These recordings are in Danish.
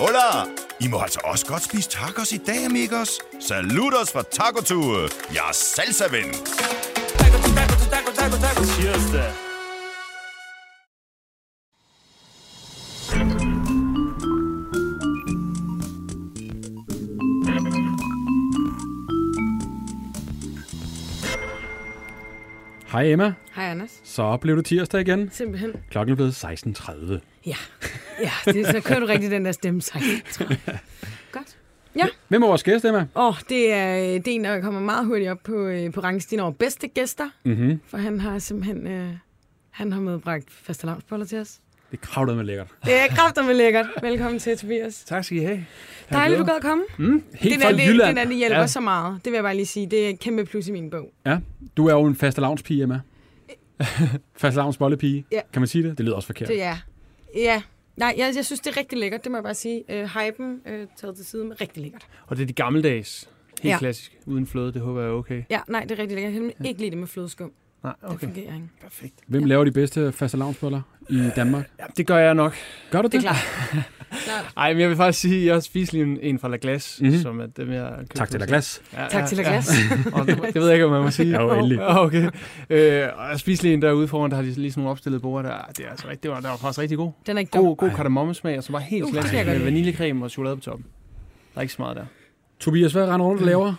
Hola! I må altså også godt spise tacos i dag, amigos. Saludos fra Taco Tue. Jeg er salsa-ven. Cheers da. Hej Emma, Hej, Anders. så blev det tirsdag igen. Simpelthen. Klokken er blevet 16.30. Ja. Ja, det, så kører du rigtig den der stemme sang. Godt. Ja, Hvem er vores gæst, Emma? og det er, øh, det er en, der kommer meget hurtigt op på, øh, på rangstien over bedste gæster, Mm-hmm. for han har simpelthen øh, han har medbragt fastelavnsboller til os. Det kravlede med lækkert. Det er kraftigt med lækkert. Velkommen til, Tobias. Tak skal I have. Dejligt, du gad at komme. Helt den, fra er, det, Jylland. den er, det hjælper ja, ja. så meget. Det vil jeg bare lige sige. Det er et kæmpe plus i min bog. ja. Du er jo en fastelavnspige, Emma. fastelavns bollepige. Ja. Kan man sige det? Det lyder også forkert. Det er. Ja. Nej, jeg, jeg synes, det er rigtig lækkert. Det må jeg bare sige. Øh, hypen øh, taget til side med rigtig lækkert. Og det er de gammeldags. Helt Ja. ja. klassisk. Uden fløde, det håber jeg er okay. Ja, nej, det er rigtig lækkert. Jeg kan ikke lide det med flødeskum. Nej, Det okay. fungerer ikke. Perfekt. Hvem laver de bedste fastelavnsboller i Danmark? Ja, det gør jeg nok. Gør du det? Det er klart. Mm. klart. Ej, men jeg vil faktisk sige, at jeg spiste lige en, en fra La Glace, Mhm. mm-hmm. som er dem, jeg købte Tak til hos- dig, glas. Ja, Tak til La Glace. Og det, det ved jeg ikke, om man må sige. Ja, jo, endelig. Ja, Okay. Øh, og jeg spiste lige en derude foran, der har de lige sådan nogle opstillede borde der. Det, er altså, rigtig- det var, der var faktisk rigtig god. Den er ikke dum. God, god kardemommesmag, og så bare helt Uh, glat det kan jeg godt med lide. vaniljekreme og chokolade på toppen. Der er ikke så meget der. Tobias, hvad render rundt og laver?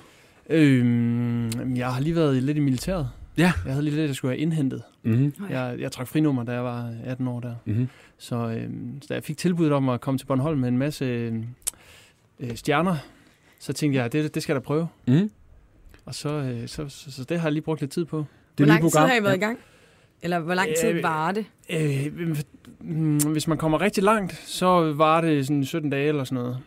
Øhm, jeg har lige været lidt i militæret. Ja. Jeg havde lige lidt, jeg skulle have indhentet. Mm-hmm. Jeg, jeg trak frinummer, da jeg var 18 år der. Mm-hmm. Så, øhm, så da jeg fik tilbuddet om at komme til Bornholm med en masse øhm, øh, stjerner, så tænkte jeg, det, det skal jeg da prøve. Mm-hmm. Og så, øh, så, så, så det har jeg lige brugt lidt tid på. Det Hvor nye lang tid program. har I været i gang? Eller hvor lang tid Øh, var det? Øh, mm, hvis man kommer rigtig langt, så var det sådan 17 dage eller sådan noget.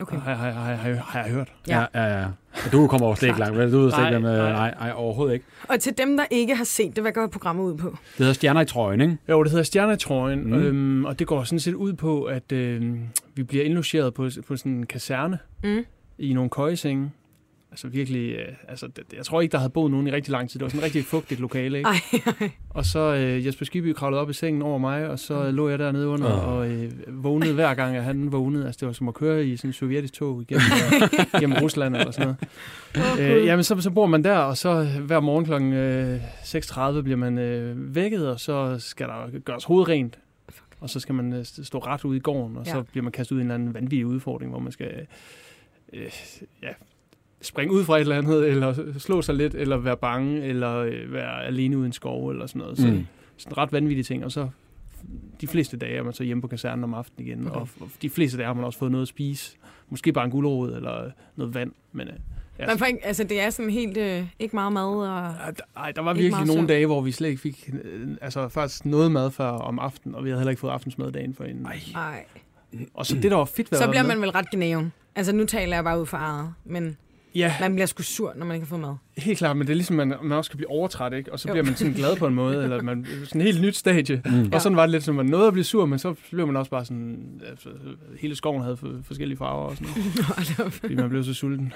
Okay. Har, har, har, har, har jeg hørt. Ja, ja, ja. Og Du kommer jo slet ikke langt. vel? Du ved slet ikke, Nej, hvem, øh, nej. nej, nej, overhovedet ikke. Og til dem, der ikke har set det, hvad går programmet ud på? Det hedder Stjerner i trøjen, ikke? Jo, det hedder Stjernetrøjen, Mm. mm. øhm, og det går sådan set ud på, at øhm, vi bliver indlogeret på, på sådan en kaserne Mm. i nogle køjesenge. Altså virkelig, øh, altså, det, jeg tror ikke, der havde boet nogen i rigtig lang tid. Det var sådan et rigtig fugtigt lokale, ikke? Ej, ej. Og så øh, Jesper Skibby kravlede op i sengen over mig, og så øh, lå jeg dernede under Åh. og øh, vågnede hver gang, at han vågnede. Altså det var som at køre i sådan en sovjetisk tog igennem, øh, gennem Rusland eller sådan noget. Øh, jamen så, så bor man der, og så hver morgen kl. Øh, 6.30 bliver man øh, vækket, og så skal der gøres hovedrent. Og så skal man øh, st- stå ret ude i gården, og ja. Ja. så bliver man kastet ud i en eller anden vanvittig udfordring, hvor man skal øh, ja, springe ud fra et eller andet, eller slå sig lidt, eller være bange, eller øh, være alene uden skov, eller sådan noget. Så, Mm. mm. Sådan ret vanvittige ting, og så de fleste dage er man så hjemme på kasernen om aftenen igen, Okay. okay. og, og de fleste dage har man også fået noget at spise. Måske bare en gulerod eller noget vand, men øh, ja, Man får ikke, altså, det er sådan helt øh, ikke meget mad. Og... ej, der- Ej, der var Ikke virkelig meget nogle søvn. dage, hvor vi slet ikke fik øh, altså, faktisk noget mad før om aftenen, og vi havde heller ikke fået aftensmad dagen for inden. Ej. Og så det, der var fedt ved Så at være bliver med- man vel ret gnaven. Altså, nu taler jeg bare ud for eget, men Ja, man bliver sgu sur, når man ikke har fået mad. helt klart, men det er ligesom, man, man også kan blive overtræt, ikke? Og så Jo. bliver man sådan glad på en måde, eller man sådan et helt nyt stadie. Mm. Og sådan var det lidt, som man nåede at blive sur, men så blev man også bare sådan... Altså, hele skoven havde for- forskellige farver og sådan noget, Nå, da- fordi man blev så sulten.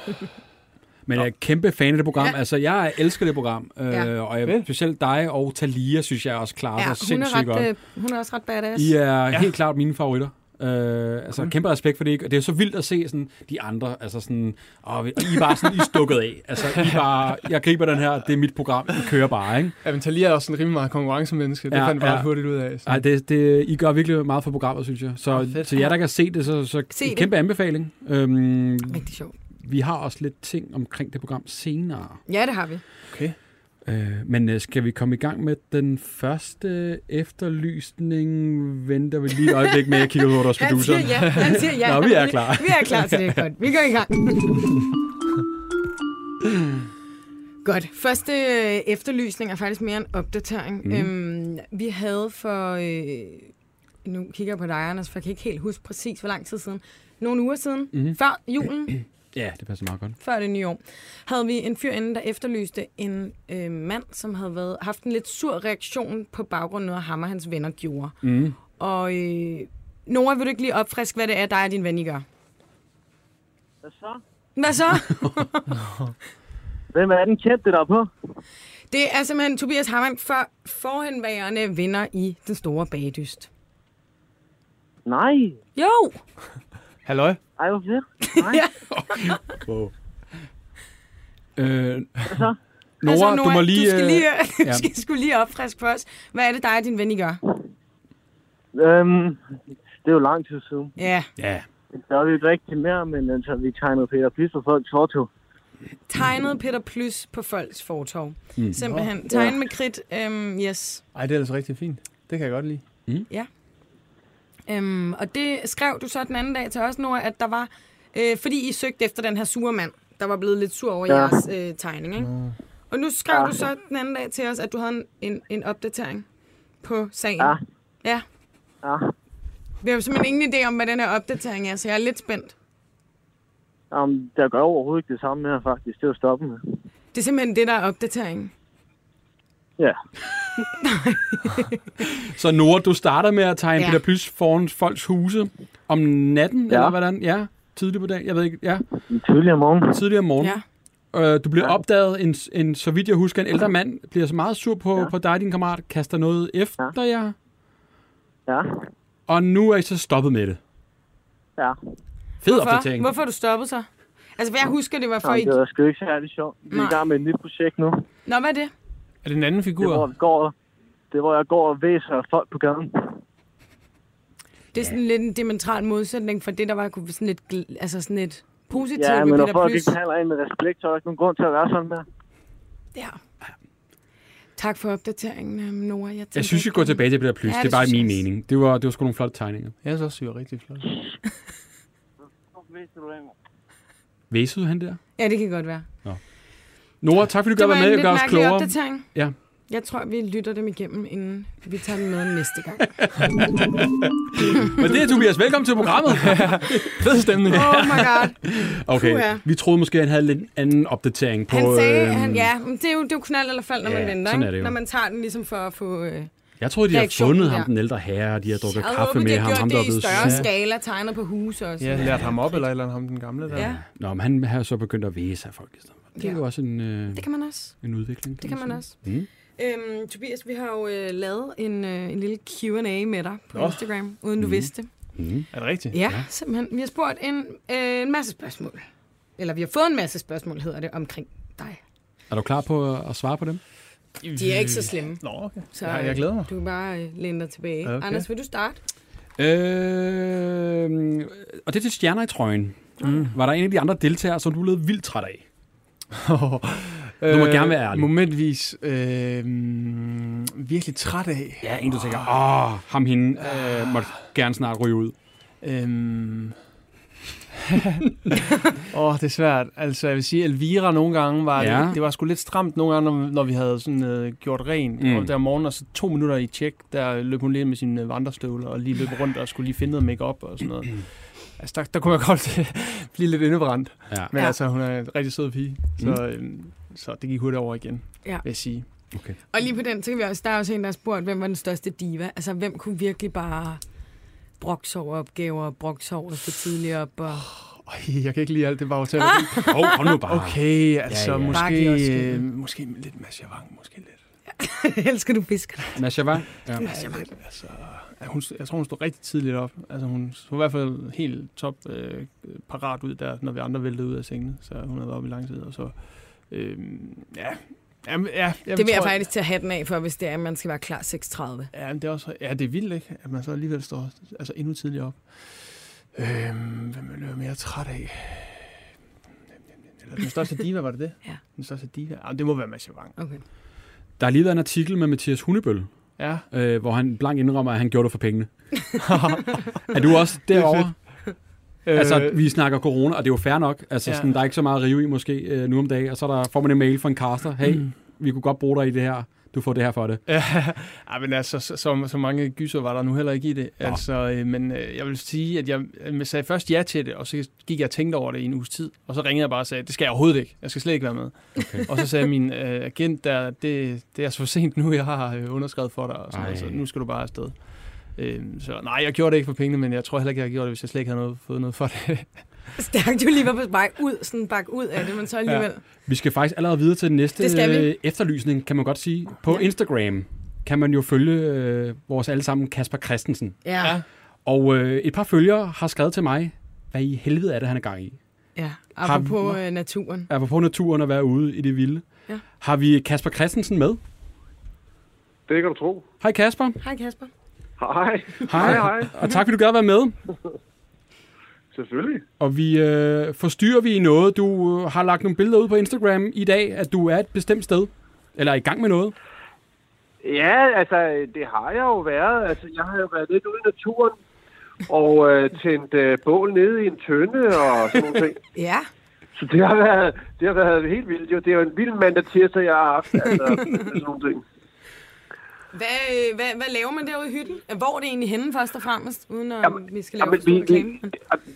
Men jeg er kæmpe fan af det program. Ja. Ja. Altså, jeg elsker det program. Øh, Ja. Og jeg, Vel. specielt dig og Talia, synes jeg også klarer ja, ja, sig hun er, Ah, sindssygt ret, godt. øh, hun er også ret badass. I er ja. Ja. helt klart mine favoritter. Øh, altså, Cool. kæmpe respekt for det. ikke? Og det er så vildt at se sådan, de andre. Altså sådan, åh, vi- og I er bare sådan, I er stukket af. Altså, I er bare, jeg griber den her, det er mit program, I kører bare, ikke? Ja, men Thalia er også sådan rimelig meget konkurrencemenneske. Det Ja, ja, fandt jeg bare ja. ja. hurtigt ud af. Så. Ej, det, det, I gør virkelig meget for programmet, synes jeg. Åh, Så fedt. til jer, der kan se det, så, så Se en det. kæmpe anbefaling. Øhm, Rigtig sjovt. vi har også lidt ting omkring det program senere. Ja, det har vi. Okay. Øh, men øh, skal vi komme i gang med den første efterlysning? Venter vi lige et øjeblik med, at kigge over vores Han producer. siger ja. Han siger ja. Nå, vi er klar. Vi er klar til det. Godt. Vi går i gang. Godt. Første øh, efterlysning er faktisk mere en opdatering. Mm. Mm. Øhm, vi havde for... Øh, nu kigger jeg på dig, Anders, for jeg kan ikke helt huske præcis, hvor lang tid siden. Nogle uger siden, Mhm. mm. før julen, Ja, det passer meget godt. før det nye år, havde vi en fyr inde, der efterlyste en øh, mand, som havde været, haft en lidt sur reaktion på baggrund af noget, ham og hans venner gjorde. Mm. Og øh, Nora, vil du ikke lige opfriske, hvad det er, dig og din ven, I gør? Hvad så? Hvad så? Hvem er den kendte der er på? Det er simpelthen Tobias Hammann for forhenværende vinder i Den Store Bagdyst. Nej, Jo! Halløj? Ej, hvor fedt. Nej, Wow. Øh, så? Nora, altså, altså, du må lige... Du skal øh, lige, øh, ja. du skal, skulle lige opfriske for os. Hvad er det dig og din ven, I gør? øhm, det er jo lang tid siden. Ja, Ja, Der er vi ikke rigtig mere, men altså, vi tegnede Peter Plis på folks fortog. tegnet Peter Plys på folks fortov. Mm. Simpelthen. Tegnet med kridt. Øhm, yes. Ej, det er altså rigtig fint. Det kan jeg godt lide. Øhm, og det skrev du så den anden dag til os, Nora, at der var... Øh, fordi I søgte efter den her sure mand, der var blevet lidt sur over ja. Ja. Mm. jeres øh, tegning, ikke? Og nu skrev Ja. du så den anden dag til os, at du havde en, en, en opdatering på sagen. Ja. ja. Ja. Vi har jo simpelthen ingen idé om, hvad den her opdatering er, så jeg er lidt spændt. Jamen, der gør overhovedet ikke det samme mere, faktisk. Det er jo stoppen med. Det er simpelthen det, der er opdateringen. Ja. så Nora, du starter med at tegne Ja. ja. Peter Plys foran folks huse om natten, Ja. ja. eller hvordan? Ja, tidligt på dagen, jeg ved ikke. Ja, En tidligere morgen. tidligere om morgenen. Ja. Øh, du bliver opdaget, en, en, så vidt jeg husker, en ældre mand bliver så meget sur på, ja. på dig, din kammerat, kaster noget efter ja. jer, Ja. og nu er I så stoppet med det. Ja. Fed Hvorfor? opdatering. Hvorfor har du stoppet så? Altså, for jeg husker, det var for... Jamen, I... det var sgu ikke særlig sjovt. Vi er Nej. i gang med et nyt projekt nu. Nå, hvad er det? Er det en anden figur? Det er, hvor, vi går, det er, hvor jeg går og væser folk på gaden. Det er sådan lidt en diametral modsætning for det, der var kunne- sådan lidt, gl- altså sådan lidt positivt Ja, med men når Peter folk Plys. ikke behandler en med respekt, så er der ikke nogen grund til at være sådan der. Ja. Tak for opdateringen, øhm, Nora. Jeg, tænker Jeg synes, vi ikke- går tilbage til Peter Plys. Ja, Ja, det, det det var synes min jeg også. mening. Det var, det var sgu nogle flotte tegninger. Jeg synes også, det var rigtig flot. Væsede han der? Ja, det kan godt være. Nora, tak fordi du Det gør var mig en med. lidt Det gør os mærkelig klogere. opdatering. Ja. Jeg tror, vi lytter dem igennem, inden vi tager dem med næste gang. Men det er Tobias. Velkommen til programmet. Fed stemning. Oh my god. Puha. Okay, vi troede måske, han havde en anden opdatering på... Han sagde, øhm, han, ja, men det er jo, det er jo knald eller fald, når Ja, man venter, sådan ikke? er det jo. når man tager den ligesom for at få... Øh, Jeg troede, de havde reaktionen fundet der. ham, den ældre herre, og de har drukket jeg havde kaffe håbet, de med har ham, gjort ham der er det i blevet større sur. skala, tegnet på huse og Ja, sådan lærte ham op, eller et eller andet, ham den gamle der. ja. Nå, men han har så begyndt at væse af folk i stedet. for. Det er Ja. jo også en, øh, Det kan man også. en udvikling. Det kan man også. Mm. Øhm, Tobias, vi har jo øh, lavet en, øh, en lille Q&A med dig på Nå. Instagram, uden du vidste det. Mm. Er det rigtigt? Ja, simpelthen. Vi har spurgt en, øh, en masse spørgsmål. Eller vi har fået en masse spørgsmål, hedder det, omkring dig. Er du klar på at- at svare på dem? De er ikke så slemme, Nå, okay. så Ja, jeg glæder mig. øh, du kan bare øh, læne dig tilbage. Okay. Okay. Anders, vil du starte? Øh, og det er til stjerner i trøjen. Mm. Var der en af de andre deltagere, som du blev vildt træt af? Du må gerne være ærlig. Momentvis øh, mm, virkelig træt af. Ja, en du tænker, åh, Ah, ham hende øh, måtte gerne snart ryge ud. Øhm. Åh, oh, det er svært. Altså, jeg vil sige, Elvira nogle gange var... Ja. Ja. Det, det var sgu lidt stramt nogle gange, når, når vi havde sådan, øh, gjort rent. Mm. Mm. Og der om morgenen, og så to minutter i tjek, der løb hun lige ind med sine øh, vandrestøvler, og lige løb rundt og skulle lige finde noget makeup og sådan noget. Altså, der, der kunne jeg godt blive lidt indebrændt. Ja. Men Ja. Mm. ja. altså, hun er en rigtig sød pige, så, øhm, så det gik hurtigt over igen, Ja. ja. vil jeg sige. Og lige på den, så kan vi også, der er også en, der har spurgt, hvem var den største diva? Altså, hvem kunne virkelig bare brokse over opgaver, brokse over at stå tidligere op? Og... Øj, jeg kan ikke lide alt det bagtale. Ah! Hov, kom nu bare. Okay, altså Ja, ja, ja. ja. Bare giv os måske, skylden. øh, måske lidt Mads Javang, måske lidt. Elsker du fisker? Masha, hvad? Ja. Altså, ja, hun, jeg tror, hun stod rigtig tidligt op. Altså, hun så i hvert fald helt top øh, parat ud der, når vi andre væltede ud af sengene. Så hun havde været oppe i lang tid, og så... Øh, ja, Jamen, ja, jeg Det vil jeg tror- faktisk tage hatten af for, hvis det er, at man skal være klar 6.30. Ja, men det er også, ja, det er vildt, ikke? At man så alligevel står altså, endnu tidligere op. Øh, hvem vil jeg være mere træt af? Eller den største diva, var det det? Ja. Den største diva? Ah, det må være Mads Javang. Okay. Der har lige været en artikel med Mathias Hundebøl, Ja, øh, hvor han blank indrømmer, at han gjorde det for pengene. er du også derovre? øh, altså, vi snakker corona, og det er jo fair nok. Altså, Ja. sådan, der er ikke så meget at rive i måske øh, nu om dagen, og så der, får man en mail fra en caster. Hey, mm. vi kunne godt bruge dig i det her. Du får det her for det. Ja, ej, men altså, så, så, så mange gyser var der nu heller ikke i det. Altså, øh, men øh, jeg vil sige, at jeg øh, sagde først ja til det, og så gik jeg og tænkte over det i en uges tid. Og så ringede jeg bare og sagde, det skal jeg overhovedet ikke. Jeg skal slet ikke være med. Okay. Og så sagde min øh, agent, der, det, det er så for sent nu, jeg har øh, underskrevet for dig. Og sådan noget, så Ej. nu skal du bare afsted. Øh, så nej, jeg gjorde det ikke for pengene, men jeg tror heller ikke, jeg havde gjort det, hvis jeg slet ikke havde noget, fået noget for det. Stærkt, du lige var på vej ud, sådan bak ud af det, men så alligevel. Ja. Vi skal faktisk allerede videre til den næste Det skal vi. øh, efterlysning, kan man godt sige. På ja. Instagram kan man jo følge øh, vores allesammen Kasper Christensen. ja. Og øh, et par følgere har skrevet til mig, hvad i helvede er det, han er gang i? Ja, Har- apropos øh, naturen. Er på naturen at være ude i det vilde? Ja. Har vi Kasper Christensen med? Det kan du tro. Hej Kasper. Hej Kasper. Hej. Hej, hej. Og tak, fordi du gad være med. Selvfølgelig. Og vi øh, forstyrrer vi i noget. Du øh, har lagt nogle billeder ud på Instagram i dag, at du er et bestemt sted. Eller er i gang med noget. Ja, altså, det har jeg jo været. Altså, jeg har jo været lidt ude i naturen og øh, tændt øh, bål nede i en tønde og sådan nogle ting. Ja. Så det har været, det har været helt vildt. Jo. Det er jo en vild mandag tirsdag, jeg har haft. Altså, sådan nogle ting. Hvad, øh, hvad, hvad laver man derude i hytten? Hvor er det egentlig henne først og fremmest, uden at Jamen, vi skal lave Jamen, for stor vi, reklame? vi,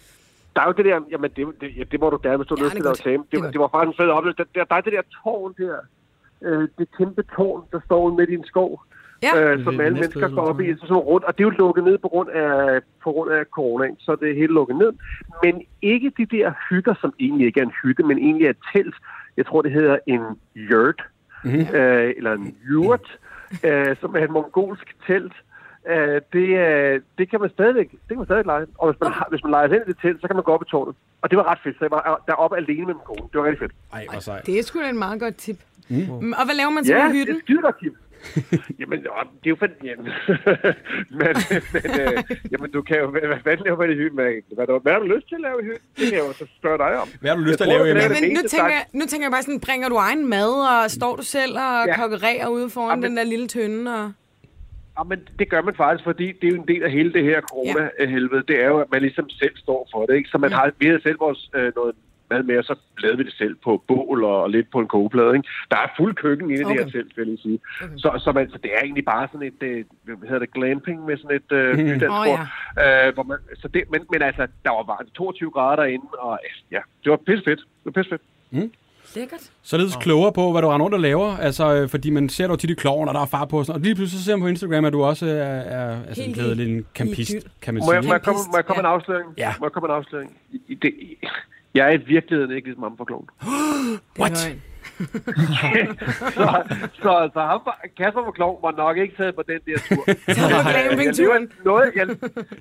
der er jo det der, jamen det, det, ja, det må du gerne, hvis du Ja, har lyst det til er at godt. lave reklame. Det er Det, det var faktisk en fed oplevelse. Der, der, der er det der tårn der, øh, det kæmpe tårn, der står ude midt i en skov, Ja. øh, Det er som alle næste mennesker øvelse, går op tror i, så sådan rundt, og det er jo lukket ned på grund af, på grund af corona, så det er helt lukket ned. Men ikke de der hytter, som egentlig ikke er en hytte, men egentlig er et telt. Jeg tror, det hedder en yurt, mm-hmm. øh, eller en yurt, øh, som er et mongolsk telt. Øh, det, øh, det kan man stadigvæk, det kan man stadigvæk lege. Og hvis man, har, hvis man leger sig ind i det telt, så kan man gå op i tårnet. Og det var ret fedt, så jeg var deroppe alene med min kone. Det var rigtig fedt. Ej, hvor sejt. Det er sgu da en meget godt tip. Mm. Og hvad laver man så Ja, i det hytten? er skide godt, Kim. jamen, og det er jo fandt... Jamen, men, men øh, jamen, du kan jo... Hvad, hvad fanden laver man i hytten? Hvad, hvad, hvad, hvad har du lyst til at lave i hytten? Det kan jeg jo så spørge dig om. Hvad har du lyst til at Jeg lave, tror, Emma? det er Men nu eneste, tænker, der- jeg, nu tænker jeg bare sådan, bringer du egen mad, og står du selv og ja. Ja. kokkererer ude foran Jamen- den der lille tønde? Og... Ja, men det gør man faktisk, fordi det er jo en del af hele det her corona-helvede. Det er jo, at man ligesom selv står for det, ikke? Så man har, vi havde selv vores øh, noget mad med, og så lavede vi det selv på bål og, og lidt på en kogeplade, ikke? Der er fuld køkken inde i det Okay. her telt, vil jeg lige sige. Så, så, man, så det er egentlig bare sådan et, øh, hvad hedder det, glamping med sådan et øh, bydansk Åh, oh, ja. øh, hvor man, så det, men, men altså, der var varmt 22 grader derinde, og øh, ja, det var pisse fedt. Det var pisse fedt. Lækkert. Således klogere på, hvad du render rundt og laver. Altså, øh, fordi man ser dig jo tit i kloven, og der er far på. Og, sådan, og lige pludselig så ser man på Instagram, at du også er, er altså, Helt blevet i- lidt en campist, i idyl. kan man Må jeg, må sige. jeg komme, må jeg komme Ja. en afsløring? Ja. Må jeg komme en afsløring? I- i- Det, i- jeg er i virkeligheden ikke ligesom ham for klogen. Det What? er løgn. så, så, så ham, var- Kasper var klog, var nok ikke taget på den der tur. Så er Jeg- Jeg, glampingturen. lever noget, jeg,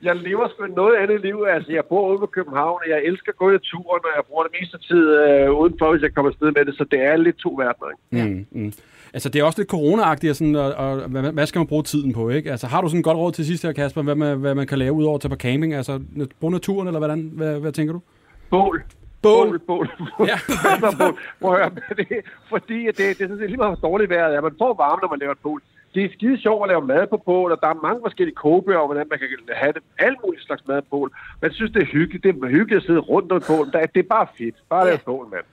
jeg lever sgu et noget andet liv. Altså, jeg bor ude på København, og jeg elsker at gå i turen, og jeg bruger det meste af tid øh, udenfor, hvis jeg kommer afsted med det. Så det er lidt to verdener, ikke? Mm, mm. Altså, det er også lidt corona-agtigt, og, sådan, og, og hvad, hvad skal man bruge tiden på, ikke? Altså, har du sådan et godt råd til sidst her, Kasper, hvad man, hvad man kan lave udover at tage på camping? Altså, brug naturen, eller hvordan? Hvad, hvad tænker du? Bål. Bål. bål, bål. Ja. Ja. altså, bål. Prøv at høre, men det, fordi at det, det, er sådan set lige meget, hvor dårligt vejret er. Man får varme, når man laver et bål. Det er skide sjovt at lave mad på bål, og der er mange forskellige kogebøger, hvordan man kan have det. Alle mulige slags mad på bål. Man synes, det er hyggeligt. Det er hyggeligt at sidde rundt om et bål. Der, det er bare fedt. Bare lave et bål, mand.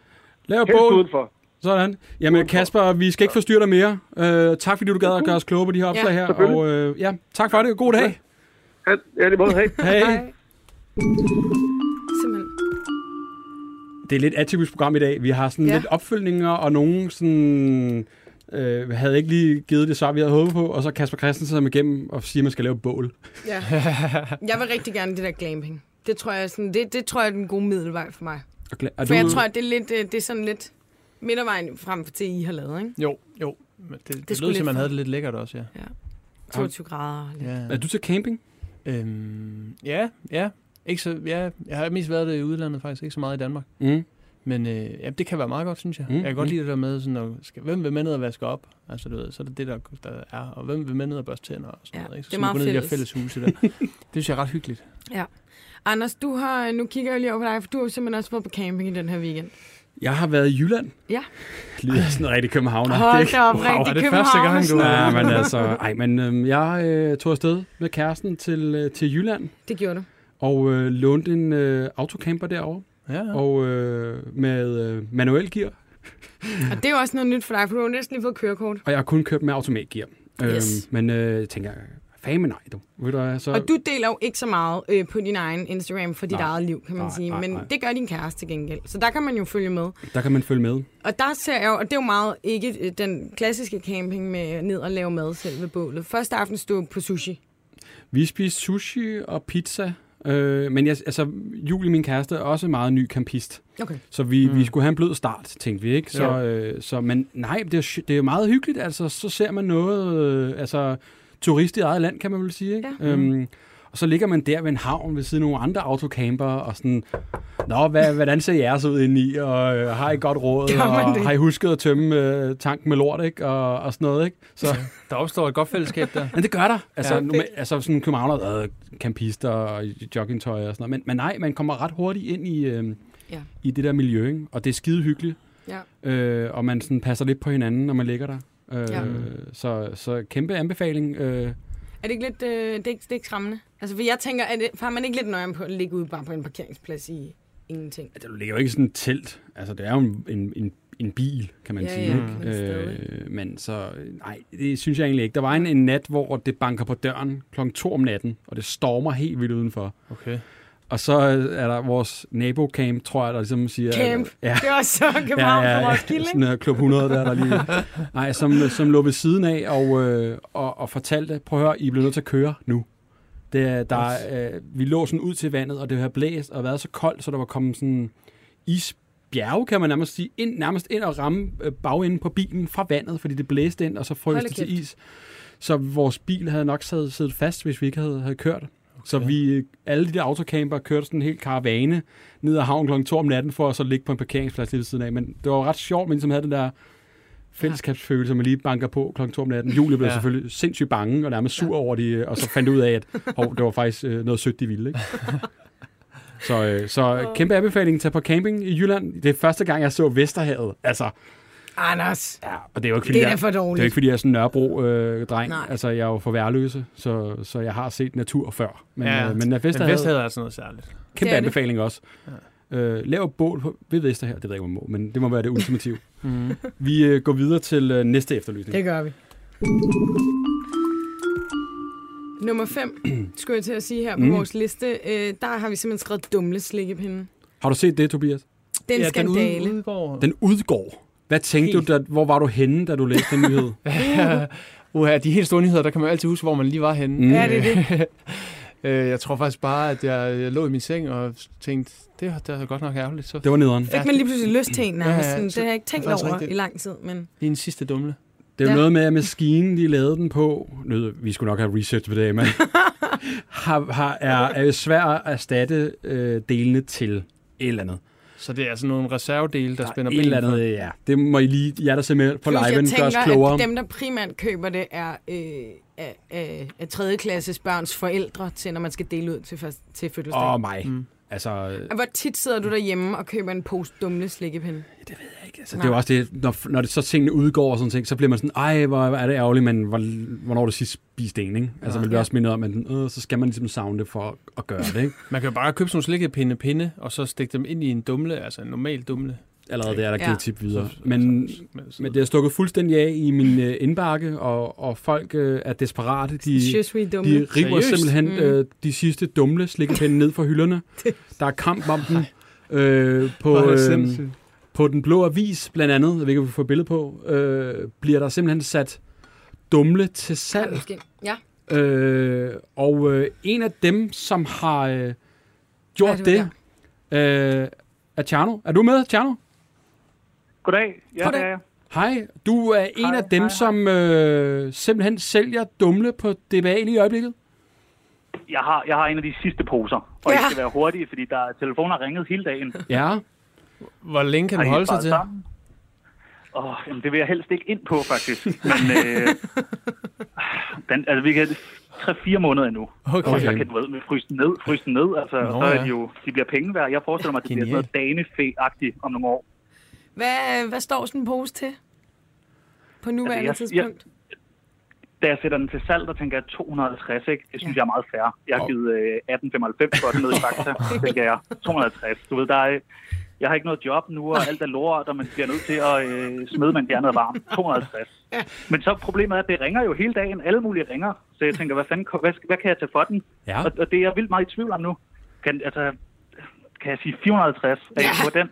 Lav et Helst bål. bål. udenfor. Sådan. Jamen, Kasper, vi skal ikke forstyrre dig mere. Øh, tak, fordi du gad at gøre os kloge på de her opslag her. Mhm. selvfølgelig. Og øh, ja, tak for det. God dag. Ja, ja, lige måde. Hey. Hej. Simpelthen. det er et lidt atypisk program i dag. Vi har sådan ja. Ja. lidt opfølgninger, og nogen sådan, øh, havde ikke lige givet det svar, vi havde håbet på, og så Kasper Christensen som igennem og siger, at man skal lave et bål. Ja. Jeg vil rigtig gerne det der glamping. Det tror jeg, sådan, det, det tror jeg er den gode middelvej for mig. Og gla- er For jeg tror, at det er, lidt, øh, det er sådan lidt midtervejen frem for til, I har lavet, ikke? Jo, jo. Men det, det, det skulle lød, som lidt man for- havde det lidt lækkert også, ja. 22 grader. lidt. Ja, er du til camping? øhm, ja. ja. Ikke så, ja. Jeg har mest været det i udlandet faktisk, ikke så meget i Danmark. Mm. Men øh, ja, det kan være meget godt, synes jeg. Mm, Mm, jeg kan godt mm. lide det der med, sådan, at, skal, hvem vil med ned og vaske op? Altså, du ved, så er det det, der, der er. Og hvem vil med ned og børste tænder? Og sådan Ja, noget, ikke? Så det er skal meget man gå ned i de her fælles. fælles huse der. det synes jeg er ret hyggeligt. Anders, du har, nu kigger jeg lige over på dig, for du har jo simpelthen også været på camping i den her weekend. Jeg har været i Jylland. Ja. Lyder sådan en rigtig københavner. Hold da op, rigtig er det København. første gang, du- Ja, men altså, ej, men øhm, jeg øh, tog afsted med kæresten til, øh, til Jylland Det gjorde du. og øh, lånte en øh, autocamper derovre, Ja, ja. og øh, med øh, manuel gear, Og det er jo også noget nyt for dig, for du har jo næsten lige fået kørekort. og jeg har kun kørt med automatgear. Yes. Øhm, men øh, jeg tænker, fame nej, du. Ved du hvad, så... Og du deler jo ikke så meget øh, på din egen Instagram for dit Nej. eget liv, kan man Nej, sige. nej, Men nej. det gør din kæreste til gengæld. Så der kan man jo følge med. Der kan man følge med. Og der ser jeg jo, og det er jo meget ikke øh, den klassiske camping med ned og lave mad selv ved bålet. Første aften stod på sushi. Vi spiste sushi og pizza, øh, men jeg, altså, Julie, min kæreste, er også meget ny campist. Okay. Så vi, mm. vi skulle have en blød start, tænkte vi, ikke? Så, øh, så, men nej, det er, sj- det er meget hyggeligt, altså, så ser man noget, øh, altså, turist i eget land, kan man vel sige, ikke? Mm. Ja. Øhm, og Og så ligger man der ved en havn ved siden af nogle andre autocamper, og sådan, Nå, hvad, hvordan ser jeres ud indeni, og øh, har I godt råd, Gør man og det? har I husket at tømme øh, tanken med lort, ikke? Og, og sådan noget, ikke? Så, Der opstår et godt fællesskab der. men det gør der. Altså, Ja. ja, det... altså sådan københavner, øh, campister og joggingtøj og sådan noget. Men, men nej, man kommer ret hurtigt ind i, øh, Ja. ja. i det der miljø, ikke? og det er skide hyggeligt. Ja. Øh, og man sådan passer lidt på hinanden, når man ligger der. Øh, Ja. ja. så, så kæmpe anbefaling. Øh, Er det ikke lidt, øh, det, er ikke, det er ikke skræmmende? Altså, for jeg tænker, er det, har man ikke lidt nøje på at ligge ude bare på en parkeringsplads i ingenting? Altså, du ligger jo ikke i sådan et telt. Altså, det er jo en, en, en, en bil, kan man Ja, sige. ja, men ikke? stadig. øh, men så, nej, det synes jeg egentlig ikke. Der var en, en nat, hvor det banker på døren klokken 2 om natten, og det stormer helt vildt udenfor. Okay. Og så øh, er der vores nabocamp, tror jeg, der ligesom siger... Camp. Ja, Det var så København ja, ja, ja. for Roskilde, sådan ikke? noget klub 100 der, der lige... Nej, som, som lå ved siden af og, øh, og, og fortalte, prøv at høre, I bliver nødt til at køre nu. Det, er- der, øh, vi lå sådan ud til vandet, og det havde blæst og været så koldt, så der var kommet sådan isbjerge, kan man nærmest sige, ind, nærmest ind og ramme øh, bagenden på bilen fra vandet, fordi det blæste ind, og så frøs Hold da det til kæft. is. Så vores bil havde nok siddet, siddet fast, hvis vi ikke havde, havde kørt. Okay. Så vi, øh, alle de der autocamper kørte sådan en hel karavane ned ad havnen klokken 2 om natten, for at så ligge på en parkeringsplads lige ved siden af. Men det var jo ret sjovt, men som havde den der fællesskabsfølelse, man lige banker på klokken 2 om natten. Julie blev Ja. ja. selvfølgelig sindssygt bange og nærmest sur over det, og så fandt ud af, at hov, det var faktisk øh, noget sødt, de ville. Ikke? Så, øh, så kæmpe anbefaling, tag på camping i Jylland. Det er første gang, jeg så Vesterhavet. Altså, Anders, ja, og det er jo ikke, fordi det er jeg, for det er jo dårligt. ikke, fordi jeg er sådan en Nørrebro-dreng. Nej. altså, jeg er jo for værløse, så, så jeg har set natur før. Men, ja, øh, men er Men Vesterhavet, Vesterhavet er altså noget særligt. kæmpe Det er det. anbefaling også. Øh, lav bål på, ved Vesterhavet. Det ved jeg ikke, om man må, men det må være det ultimative. Mm. Mhm. Vi øh, går videre til øh, næste efterlysning. Det gør vi. Nummer 5, skulle jeg til at sige her på mm. Mm. vores liste, øh, der har vi simpelthen skrevet dumle slikkepinde. Har du set det, Tobias? Det er en ja, den skandale. ud- udgår. Den udgår. Hvad tænkte Helt. du, da, hvor var du henne, da du læste den nyhed? Uha, de helt store nyheder, der kan man jo altid huske, hvor man lige var henne. Mm. Ja, det det. jeg tror faktisk bare, at jeg, jeg lå i min seng og tænkte, det, var- det var godt nok ærgerligt. Så Det var nederen. Fik man lige pludselig lyst til en nærmest. Ja, ja, Sådan, det så- har jeg ikke tænkt det er faktisk over rigtigt. i lang tid, men lige en sidste dumle. Det er jo Ja. ja. noget med, at maskinen, de lavede den på, nød, vi skulle nok have research på det, men har, har, er, er svær at erstatte øh, delene til et eller andet. Så det er altså nogle reservedele, der, Der er spænder et eller ben andet, for. øh, ja. Det må I lige, jer der ser med på Plus, jeg liven, gør os tænker, klogere. at dem, der primært køber det, er øh, af, af, af tredjeklasses børns forældre til, når man skal dele ud til, først, til fødselsdag. Åh, Um. mig. Mm. Mm. Altså, øh, Hvor tit sidder du derhjemme og køber en pose dumle slikkepinde? altså det er jo også det, når, når det så tingene udgår og sådan ting, så bliver man sådan, ej, hvor er det ærgerligt, men hvor, hvornår er det sidst spiste en, ikke? Altså, Ja. ja. man bliver også mindet om, at øh, så skal man ligesom savne det for at, at gøre det, ikke? Man kan jo bare købe sådan nogle slikkepinde pinde, og så stikke dem ind i en dumle, altså en normal dumle. Allerede der er der Ja. givet tip videre. Så- Men så- så- Men det har stukket fuldstændig af i min øh, indbakke, og, og folk øh, er desperate. De, Je suis dumle. de river Seriøst? simpelthen Mm. øh, de sidste dumle slikkepinde ned fra hylderne. Der er kamp om dem. Øh, Hvor er på, det øh, sindssygt. på Den Blå Avis, blandt andet, jeg ved ikke, om vi får billede på, øh, bliver der simpelthen sat dumle til Ja, salg. måske. Ja, Øh, og øh, en af dem, som har øh, gjort Ja, det var det, øh, er Tjerno. Er du med, Tjerno? Goddag. Ja, Goddag. det er jeg. Hej, du er en Hej, af dem, hej, hej. som øh, simpelthen sælger dumle på DBA lige i øjeblikket. Jeg har, jeg har en af de sidste poser, og Ja. ja. jeg skal være hurtig, fordi der telefoner ringet hele dagen. Ja, Hvor længe kan Har den I holde sig sparet til? sammen? Åh, jamen, det vil jeg helst ikke ind på, faktisk. Men øh, den, altså, vi kan 3-4 måneder endnu. Okay. Og så okay. kan du ved, med fryse den ned, fryse den ned. Altså, Nå, Nå, så er ja. de jo, de bliver penge værd. Jeg forestiller mig, at det bliver Genialt. sådan noget danefæ-agtigt om nogle år. Hvad, hvad står sådan en pose til? På nuværende Altså, jeg- tidspunkt? Da jeg sætter den til salg, der tænker jeg 250, ikke? Det synes Ja. ja. jeg er meget fair. Jeg har givet øh, 1895 for den ned i Fakta, så tænker jeg 250. Du ved, der er, jeg har ikke noget job nu, og alt er lort, og man bliver nødt til at øh, smide, man bliver noget varmt. 250. Men så problemet er, at det ringer jo hele dagen. Alle mulige ringer. Så jeg tænker, hvad, fanden, hvad, hvad kan jeg tage for den? ja. Og, og det er jeg vildt meget i tvivl om nu. Kan, altså, kan jeg sige 450? Er jeg på den?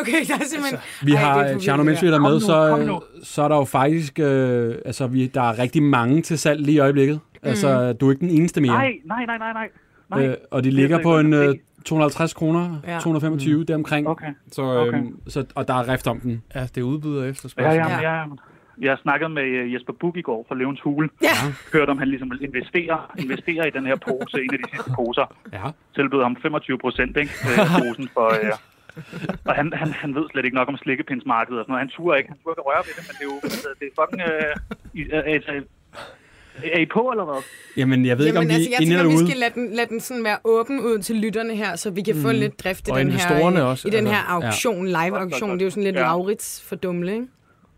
Okay, der er simpelthen... Altså, Vi Ej, det er har, øh, forvirrende, Tjerno, mens vi det er der Kom med, nu, så, kom nu. så er der jo faktisk, øh, altså vi, der er rigtig mange til salg lige i øjeblikket. Altså, du er ikke den eneste mere. Nej, nej, nej, nej, nej. nej. Øh, og de Det er ligger slet på ikke en noget at øh, se. 250 kroner, Ja. ja. 225 mm. deromkring. Okay. Så, øh, Okay. så, og der er rift om den. Ja, det udbyder Ja, efterspørgsel. ja, ja. ja. Jeg snakkede med øh, Jesper Bug i går fra Løvens Hule. Ja. Hørte om han ligesom ville investere, investere i den her pose, en af de sidste poser. Ja. Tilbød ham 25 procent, ikke? Øh, posen for... Øh, og han, han, han ved slet ikke nok om slikkepindsmarkedet og sådan noget. Han turer ikke. Han turer ikke røre ved det, men det er jo... Altså, det er fucking... Øh, i- øh, altså, er I på, eller hvad? Jamen, jeg ved ikke, om Jamen, vi altså, er jeg inde tænker, eller vi ude. skal lade den, lade den sådan være åben ud til lytterne her, så vi kan Mm. få lidt drift i Og den investorerne her, øh, også, i den altså. her auktion, live-auktion. Det er jo sådan lidt Ja. Laurits for dumle, ikke?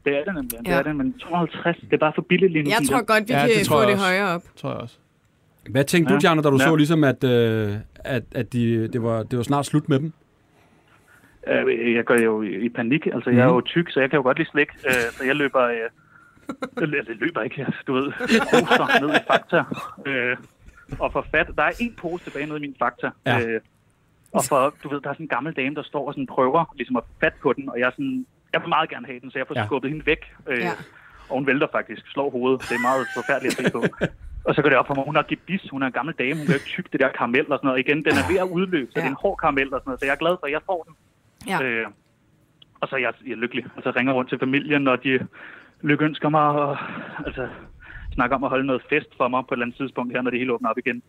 Det er det nemlig. Ja. Det Ja. er det, men 250, det er bare for billigt lige nu. Jeg synes tror godt, vi Ja, ja, det kan tror få jeg det også. højere op. tror jeg også. Hvad tænkte ja. Ja. du, Janne, da du ja. Ja. så ligesom, at, øh, at, at de, det, var, det var snart slut med dem? Øh, jeg går jo i panik. Altså, jeg er Mhm. jo tyk, så jeg kan jo godt lide slik. Øh, så jeg løber... Øh, jeg lø- jeg løber ikke, jeg- du ved. Poser ned i Fakta. Øh, og for fat... Der er en pose tilbage nede i min Fakta. Ja. Øh, og for, du ved, der er sådan en gammel dame, der står og sådan prøver ligesom at få fat på den. Og jeg er sådan... Jeg vil meget gerne have den, så jeg får Ja. ja. skubbet hende væk. Øh, Ja. ja. Og hun vælter faktisk. Slår hovedet. Det er meget forfærdeligt at se på. Og så går det op for mig, hun har gibis, hun er en gammel dame, hun kan ikke tykke det der karamel og sådan noget. Igen, den er ved at udløbe, så Ja. det er en hård karamel og sådan noget, så jeg er glad for, at jeg får den. Ja. Øh, og så er jeg, jeg er lykkelig. Altså, jeg ringer rundt til familien, og de lykønsker mig, og altså, snakker om at holde noget fest for mig på et eller andet tidspunkt her, når det hele åbner op igen.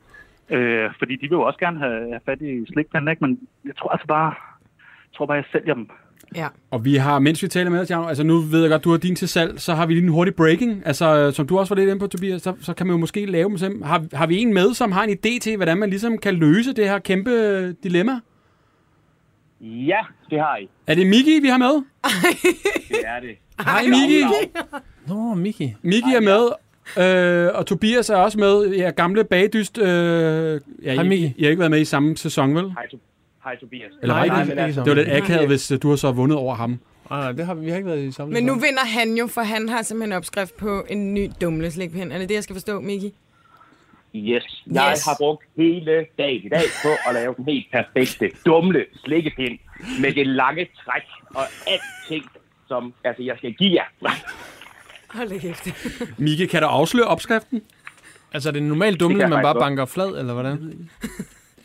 Øh, fordi de vil jo også gerne have, have fat i slikpanden, ikke? men jeg tror altså bare, jeg tror bare, jeg sælger dem. Ja. Og vi har, mens vi taler med dig, Jarno, altså nu ved jeg godt, du har din til salg, så har vi lige en hurtig breaking. Altså, øh, som du også var lidt inde på, Tobias, så, så kan man jo måske lave dem selv. Har, har vi en med, som har en idé til, hvordan man ligesom kan løse det her kæmpe øh, dilemma? Ja, det har I. Er det Miki, vi har med? Det er det. Hej, Miki. Nå, Miki. Miki er med, øh, og Tobias er også med. Ja, gamle bagdyst. Øh, ja, Hej, I, Miki. I har ikke været med i samme sæson, vel? Hej, To- Hej Tobias. Eller var I nej, det? men altså- det var lidt akavet, hvis øh, du har så vundet over ham. Nej, nej, det har vi, vi har ikke været i samme Men nu sæson. vinder han jo, for han har simpelthen opskrift på en ny dumle slikpind. Er det det, jeg skal forstå, Miki? Yes. Jeg Yes. yes. har brugt hele dagen i dag på at lave den helt perfekte, dumle slikkepind med det lange træk og alting, som altså, jeg skal give jer. Hold da kæft. Miki, kan du afsløre opskriften? Altså, er det en normal dumle, Det kan jeg man bare faktisk godt. banker flad, eller hvordan?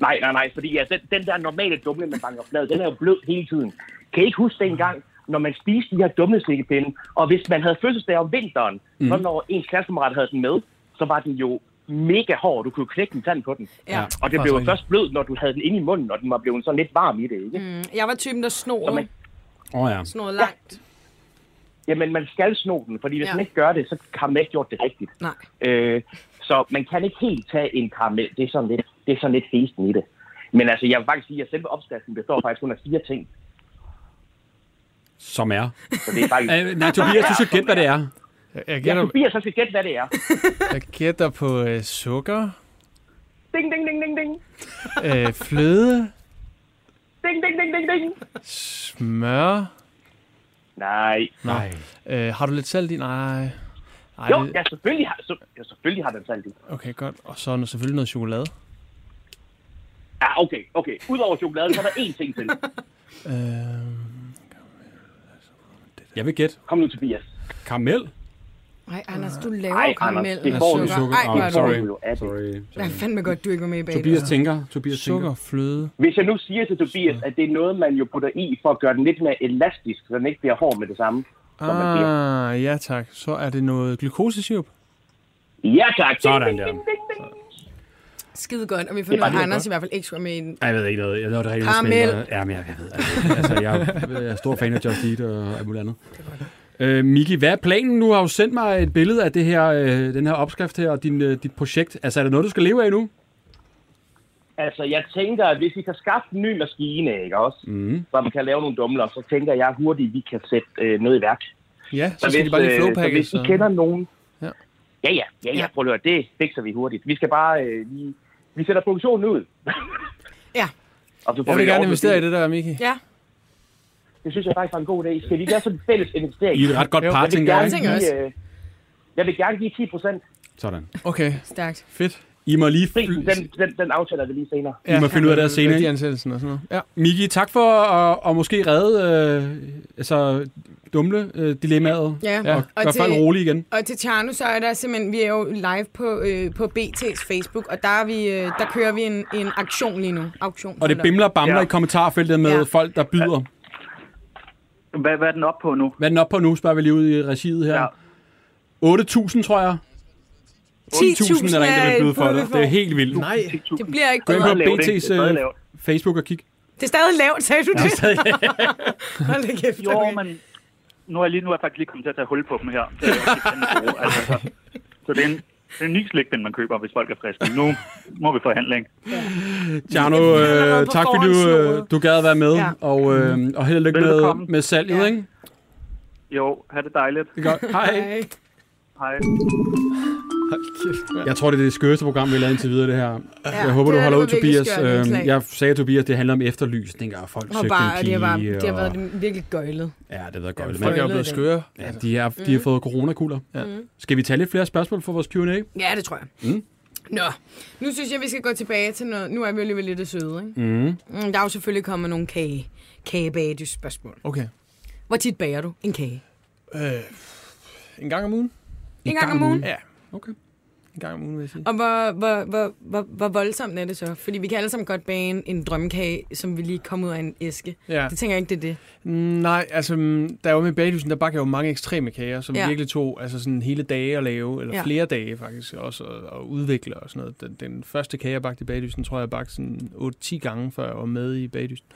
Nej, nej, nej, fordi ja, den, den der normale dumle, man banker flad, den er jo blød hele tiden. Kan I ikke huske dengang, når man spiste de her dumle slikkepinde, og hvis man havde fødselsdag om vinteren, mm. så når ens klassekammerat havde den med, så var den jo mega hård, du kunne jo knække en tand på den. Ja. Og det Faktisk blev jo rigtigt. først blød, når du havde den inde i munden, og den var blevet sådan lidt varm i det, ikke? Mm. Jeg var typen, der Så snor, man- Åh oh, ja. snor langt. Jamen, man skal sno den, fordi hvis Ja. ja. man ikke gør det, så har man ikke gjort det rigtigt. Nej. Øh, så man kan ikke helt tage en karamel. Det er sådan lidt, det er sådan lidt festen i det. Men altså, jeg vil faktisk sige, at selve opskriften består faktisk kun af fire ting. Som er. Så det er faktisk... Øh, nej, Tobias, du skal gætte, hvad det er. Jeg, jeg, Jeg gætter, Tobias, så skal gætte, hvad det er. jeg gætter på øh, sukker, Ding, ding, ding, ding, ding. øh, fløde, Ding, ding, ding, ding, ding. smør. Nej. Nej. Øh, har du lidt salt i? Nej. Ej, Jo, det- ja, selvfølgelig har, så, ja, selvfølgelig har den salt i. Okay, godt. Og så er der selvfølgelig noget chokolade. Ja, okay, okay. Udover chokoladen, så er der én ting til. Øh, Jeg vil gætte. Kom nu, Tobias. Karamel? Ej, Anders, du laver Ej, Ej, karamel Anders, det og får du sukker. sukker. Ej, hvor Ah, er sorry. du. Jo, er det. Sorry. Jeg er fandme godt, du ikke var med bag Tobias det. tænker. Tobias sukker, fløde. Hvis jeg nu siger til Tobias, at det er noget, man jo putter i for at gøre den lidt mere elastisk, så den ikke bliver hård med det samme. som man siger. Ah, ja tak. Så er det noget glukosesirup. Ja, tak. Sådan der. Skide godt, og vi finder, bare at lige Anders i hvert fald ikke skulle med i den. Ej, Jeg ved ikke noget. Jeg ved, det er rigtig Karamel. snældere. Ja, men jeg, jeg ved. Altså, altså, jeg, jeg er stor fan af Just Eat og alt muligt andet. Øh, Miki, hvad er planen? Nu har du sendt mig et billede af det her, øh, den her opskrift her og din, øh, dit projekt. Altså, er det noget, du skal leve af nu? Altså, jeg tænker, at hvis vi kan skaffe en ny maskine, ikke også? Mm. Så man kan lave nogle dumler, så tænker jeg hurtigt, at vi kan sætte øh, noget i værk. Ja, så skal de bare lige øh, så flowpakke. hvis I kender nogen... Ja. Ja, ja, ja, ja, ja. prøv at høre, det fikser vi hurtigt. Vi skal bare... Øh, vi, vi sætter produktionen ud. Ja. Og så får Jeg vi vil gerne overbevist- investere i det der, Miki. Ja, Det synes jeg faktisk var en god idé. Skal vi gøre sådan en fælles investering? I er et ret godt Jo, par, Jeg vil tænker jeg. ikke? gerne tænker også. give, øh, jeg vil gerne give 10 procent. Sådan. Okay, stærkt. fedt. I må lige... Prisen, den, den, den aftaler vi lige senere. I må finde ud af det her senere, ikke? Værdiansættelsen og sådan noget. Ja. Miki, tak for at, at måske redde øh, altså, dumle øh, dilemmaet. Ja. Ja, Og og gør til- folk rolig igen. Og til Tjerno, så er der simpelthen, vi er jo live på, øh, på BT's Facebook, og der, er vi, øh, der kører vi en, en aktion lige nu. Auktion, Og det hold op. bimler og bamler ja. Ja. i kommentarfeltet med Ja. ja. folk, der byder. Hvad, hvad er den op på nu? Hvad er den op på nu, spørger vi lige ud i regiet her. Ja. Ja. 8.000, tror jeg. 10.000 er der en, der vil byde for det. Det er helt vildt. Nej, Det bliver ikke Gå ind bedre. på lavt, ikke? BT's Det er meget øh, lavt. Facebook og kig. Det er stadig lavt, sagde du det? Hold da Øh, kæft. Jo, okay. men nu er jeg lige nu er jeg faktisk lige kommet til at tage hul på dem her. Det er jo ikke fandme gode, altså. Så det er en, det er en ny slikpind, man køber, hvis folk er friske. Nu må vi forhandle, ikke? Tjerno, Det er fordi, han er øh, på tak fordi forhånd du, øh, slået. du gad at være med, Ja. ja. og, øh, og held og lykke med, Velbekomme. med salget, ja. Ja. ikke? Jo, have det dejligt. Det er godt. Hej. Ej. Hej. Jeg tror, det er det skøreste program, vi har lavet indtil videre, det her. Ja, jeg håber, det du er holder ud, det virkelig Tobias. skørt indslag. Øhm, jeg sagde, Tobias, det handler om efterlysninger, og folk Og søgte bare, en det pige. har, bare, det har og- været virkelig gøjlet. Ja, det har været godt. folk er jo blevet det. skøre. Ja, de, er, Mm. de har fået coronakugler. Ja. Skal vi tage lidt flere spørgsmål for vores Q&A? Ja, det tror jeg. Mm. Nå, nu synes jeg, vi skal gå tilbage til noget. Nu er vi jo alligevel lidt søde, ikke? Mm. Mm, Der er jo selvfølgelig kommet nogle kage, kagebagedys-spørgsmål. Okay. Hvor tit bager du en kage? Øh, en gang om ugen? En, gang om ugen. Ja. Mm. Okay. En gang om ugen, vil jeg sige. Og hvor, hvor, hvor, hvor, hvor voldsomt er det så? Fordi vi kan alle sammen godt bage en, en drømmekage, som vi lige kom ud af en æske. Ja. Det tænker jeg ikke, det er det. Mm, Nej, altså, mm, der er jo med baglysen, der bakker jeg jo mange ekstreme kager, som Ja. ja. virkelig tog altså sådan hele dage at lave, eller Ja. ja. flere dage faktisk også, og, og udvikle og sådan noget. Den, den første kage, jeg bagte i baglysen, tror jeg, jeg bagte sådan 8-10 gange, før jeg var med i baglysen.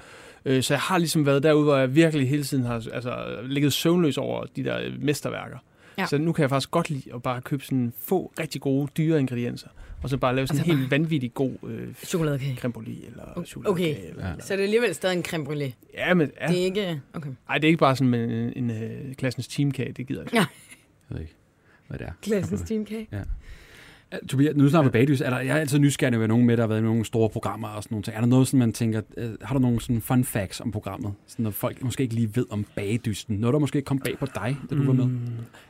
Øh, så jeg har ligesom været derude, hvor jeg virkelig hele tiden har altså, ligget søvnløs over de der øh, mesterværker. Ja. Ja. Så nu kan jeg faktisk godt lide at bare købe sådan få rigtig gode, dyre ingredienser, og så bare lave sådan Og en så helt vanvittig god øh, Chokoladekage. creme brulee eller chokoladekage. okay. Eller, ja. Så det er alligevel stadig en creme brulee. ja, men ja. Det er ikke... Okay. Ej, det er ikke bare sådan en, en, en øh, klassens teamkage, det gider jeg ikke. Jeg ved ikke, hvad det er. Klassens steamkage. Øh, Tobias, nu snakker vi bagdys. Er der, jeg er altid nysgerrig ved nogen med, der har været med i nogle store programmer og sådan nogle ting. Er der noget, sådan, man tænker, øh, har du nogle sådan fun facts om programmet? Sådan noget, folk måske ikke lige ved om bagdysten. Noget, der måske kom bag på dig, da du var med.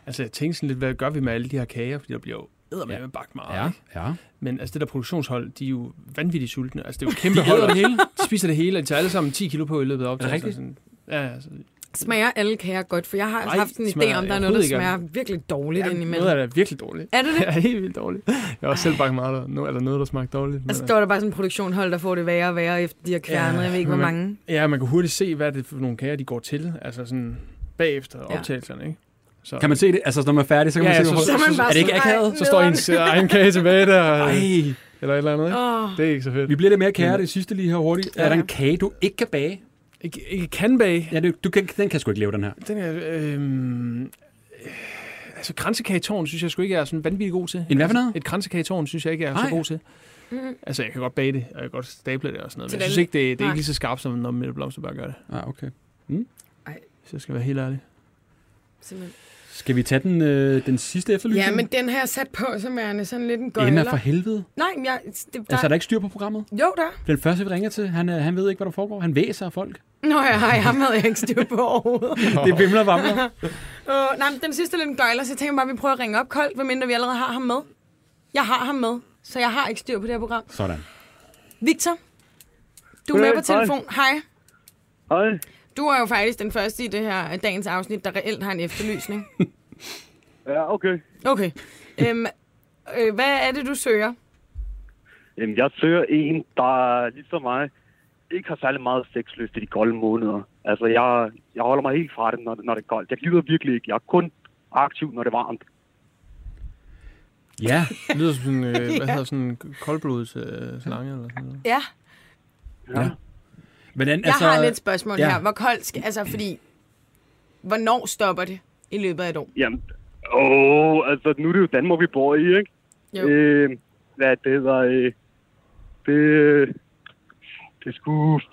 Altså, jeg tænkte sådan lidt, hvad gør vi med alle de her kager? Fordi der bliver jo eddermame Ja. ja. bagt meget. Ja, Ja. ja. Men altså, det der produktionshold, de er jo vanvittigt sultne. Altså, det er jo kæmpe hold. Det hele. De spiser det hele, og de tager alle sammen 10 kilo på i løbet af optagelsen. rigtigt? Sådan, ja, altså, Smager alle kager godt? For jeg har Nej, haft en idé smager om, der er noget, der overhovedet ikke smager af virkelig dårligt ja, ja, indimellem. noget er da virkelig dårligt. Er det det? Ja, helt vildt dårligt. Jeg har også selv bagt meget, der nu er der noget, der smagte dårligt. Men, øh, Og så står Altså, der bare sådan en produktionhold, der får det værre og værre, efter de har kværnet, Ja, jeg ved ikke, hvor men man- mange. øh, ja, man kan hurtigt se, hvad det er for nogle kager, de går til. Altså sådan bagefter Ja. optagelserne, ikke? Så, Kan man se det? Altså, når man er færdig, så kan Ja, man se, ja, hvor- så- Så er man bare er det ikke sådan, akavet? "Ej, så står ens egen kage tilbage der, Ej, eller et eller andet, ikke? Åh, Det er ikke så fedt. vi bliver lidt mere kære det sidste lige her hurtigt. Er Ja. der en kage, du ikke kan bage? Ikke, ikke kan bage. Ja, du, du kan, den kan sgu ikke leve, den her. Den er... Øh, øh, altså, kransekagetårn synes jeg sgu ikke er sådan vanvittig god til. En hvad for noget? Et kransekagetårn synes jeg ikke er Nej. så god til. Altså, jeg kan godt bage det, og jeg kan godt stable det og sådan noget. Mhm. Til Men jeg synes den- ikke, det, det er Nej. ikke lige så skarpt, som når Mette Blomsterberg gør det. Ah, okay. Hvis jeg skal være helt ærlig. simpelthen. Skal vi tage den, øh, den sidste efterlysning? Ja, men den her er sat på som værende sådan lidt en Emma gøjler. for helvede. Nej, men jeg, det, der, Altså, er der ikke styr på programmet? Jo, der. Den første, vi ringer til, han, øh, han ved ikke, hvad der foregår. Han væser af folk. Nå ja, hej, ham havde jeg ikke styr på overhovedet. Det vimler og vamler. uh, nej, men den sidste er lidt en gøjler, så jeg tænker bare, at vi prøver at ringe op koldt, medmindre vi allerede har ham med. Jeg har ham med, så jeg har ikke styr på det her program. Sådan. Victor, du er med Goddag, på telefon. Hej. Hej. Du er jo faktisk den første i det her øh, dagens afsnit, der reelt har en efterlysning. Ja, okay. Okay. øhm, øh, hvad er det, du søger? Jamen, jeg søger en, der ligesom mig ikke har særlig meget sexlyst i de kolde måneder. Altså, jeg, jeg holder mig helt fra det, når, når det er koldt. Jeg gider virkelig ikke. Jeg er kun aktiv, når det er varmt. Ja, Det lyder som sådan, øh, hvad hedder sådan en koldblodet øh, slange eller sådan noget. Ja, men den, jeg altså, har lidt spørgsmål ja. ja. her. Hvor koldt skal... Altså, fordi... Hvornår stopper det i løbet af et år? Jamen, åh, altså, nu er det jo Danmark, vi bor i, ikke? Jo. Øh, hvad det hedder, øh, det, øh, det skulle,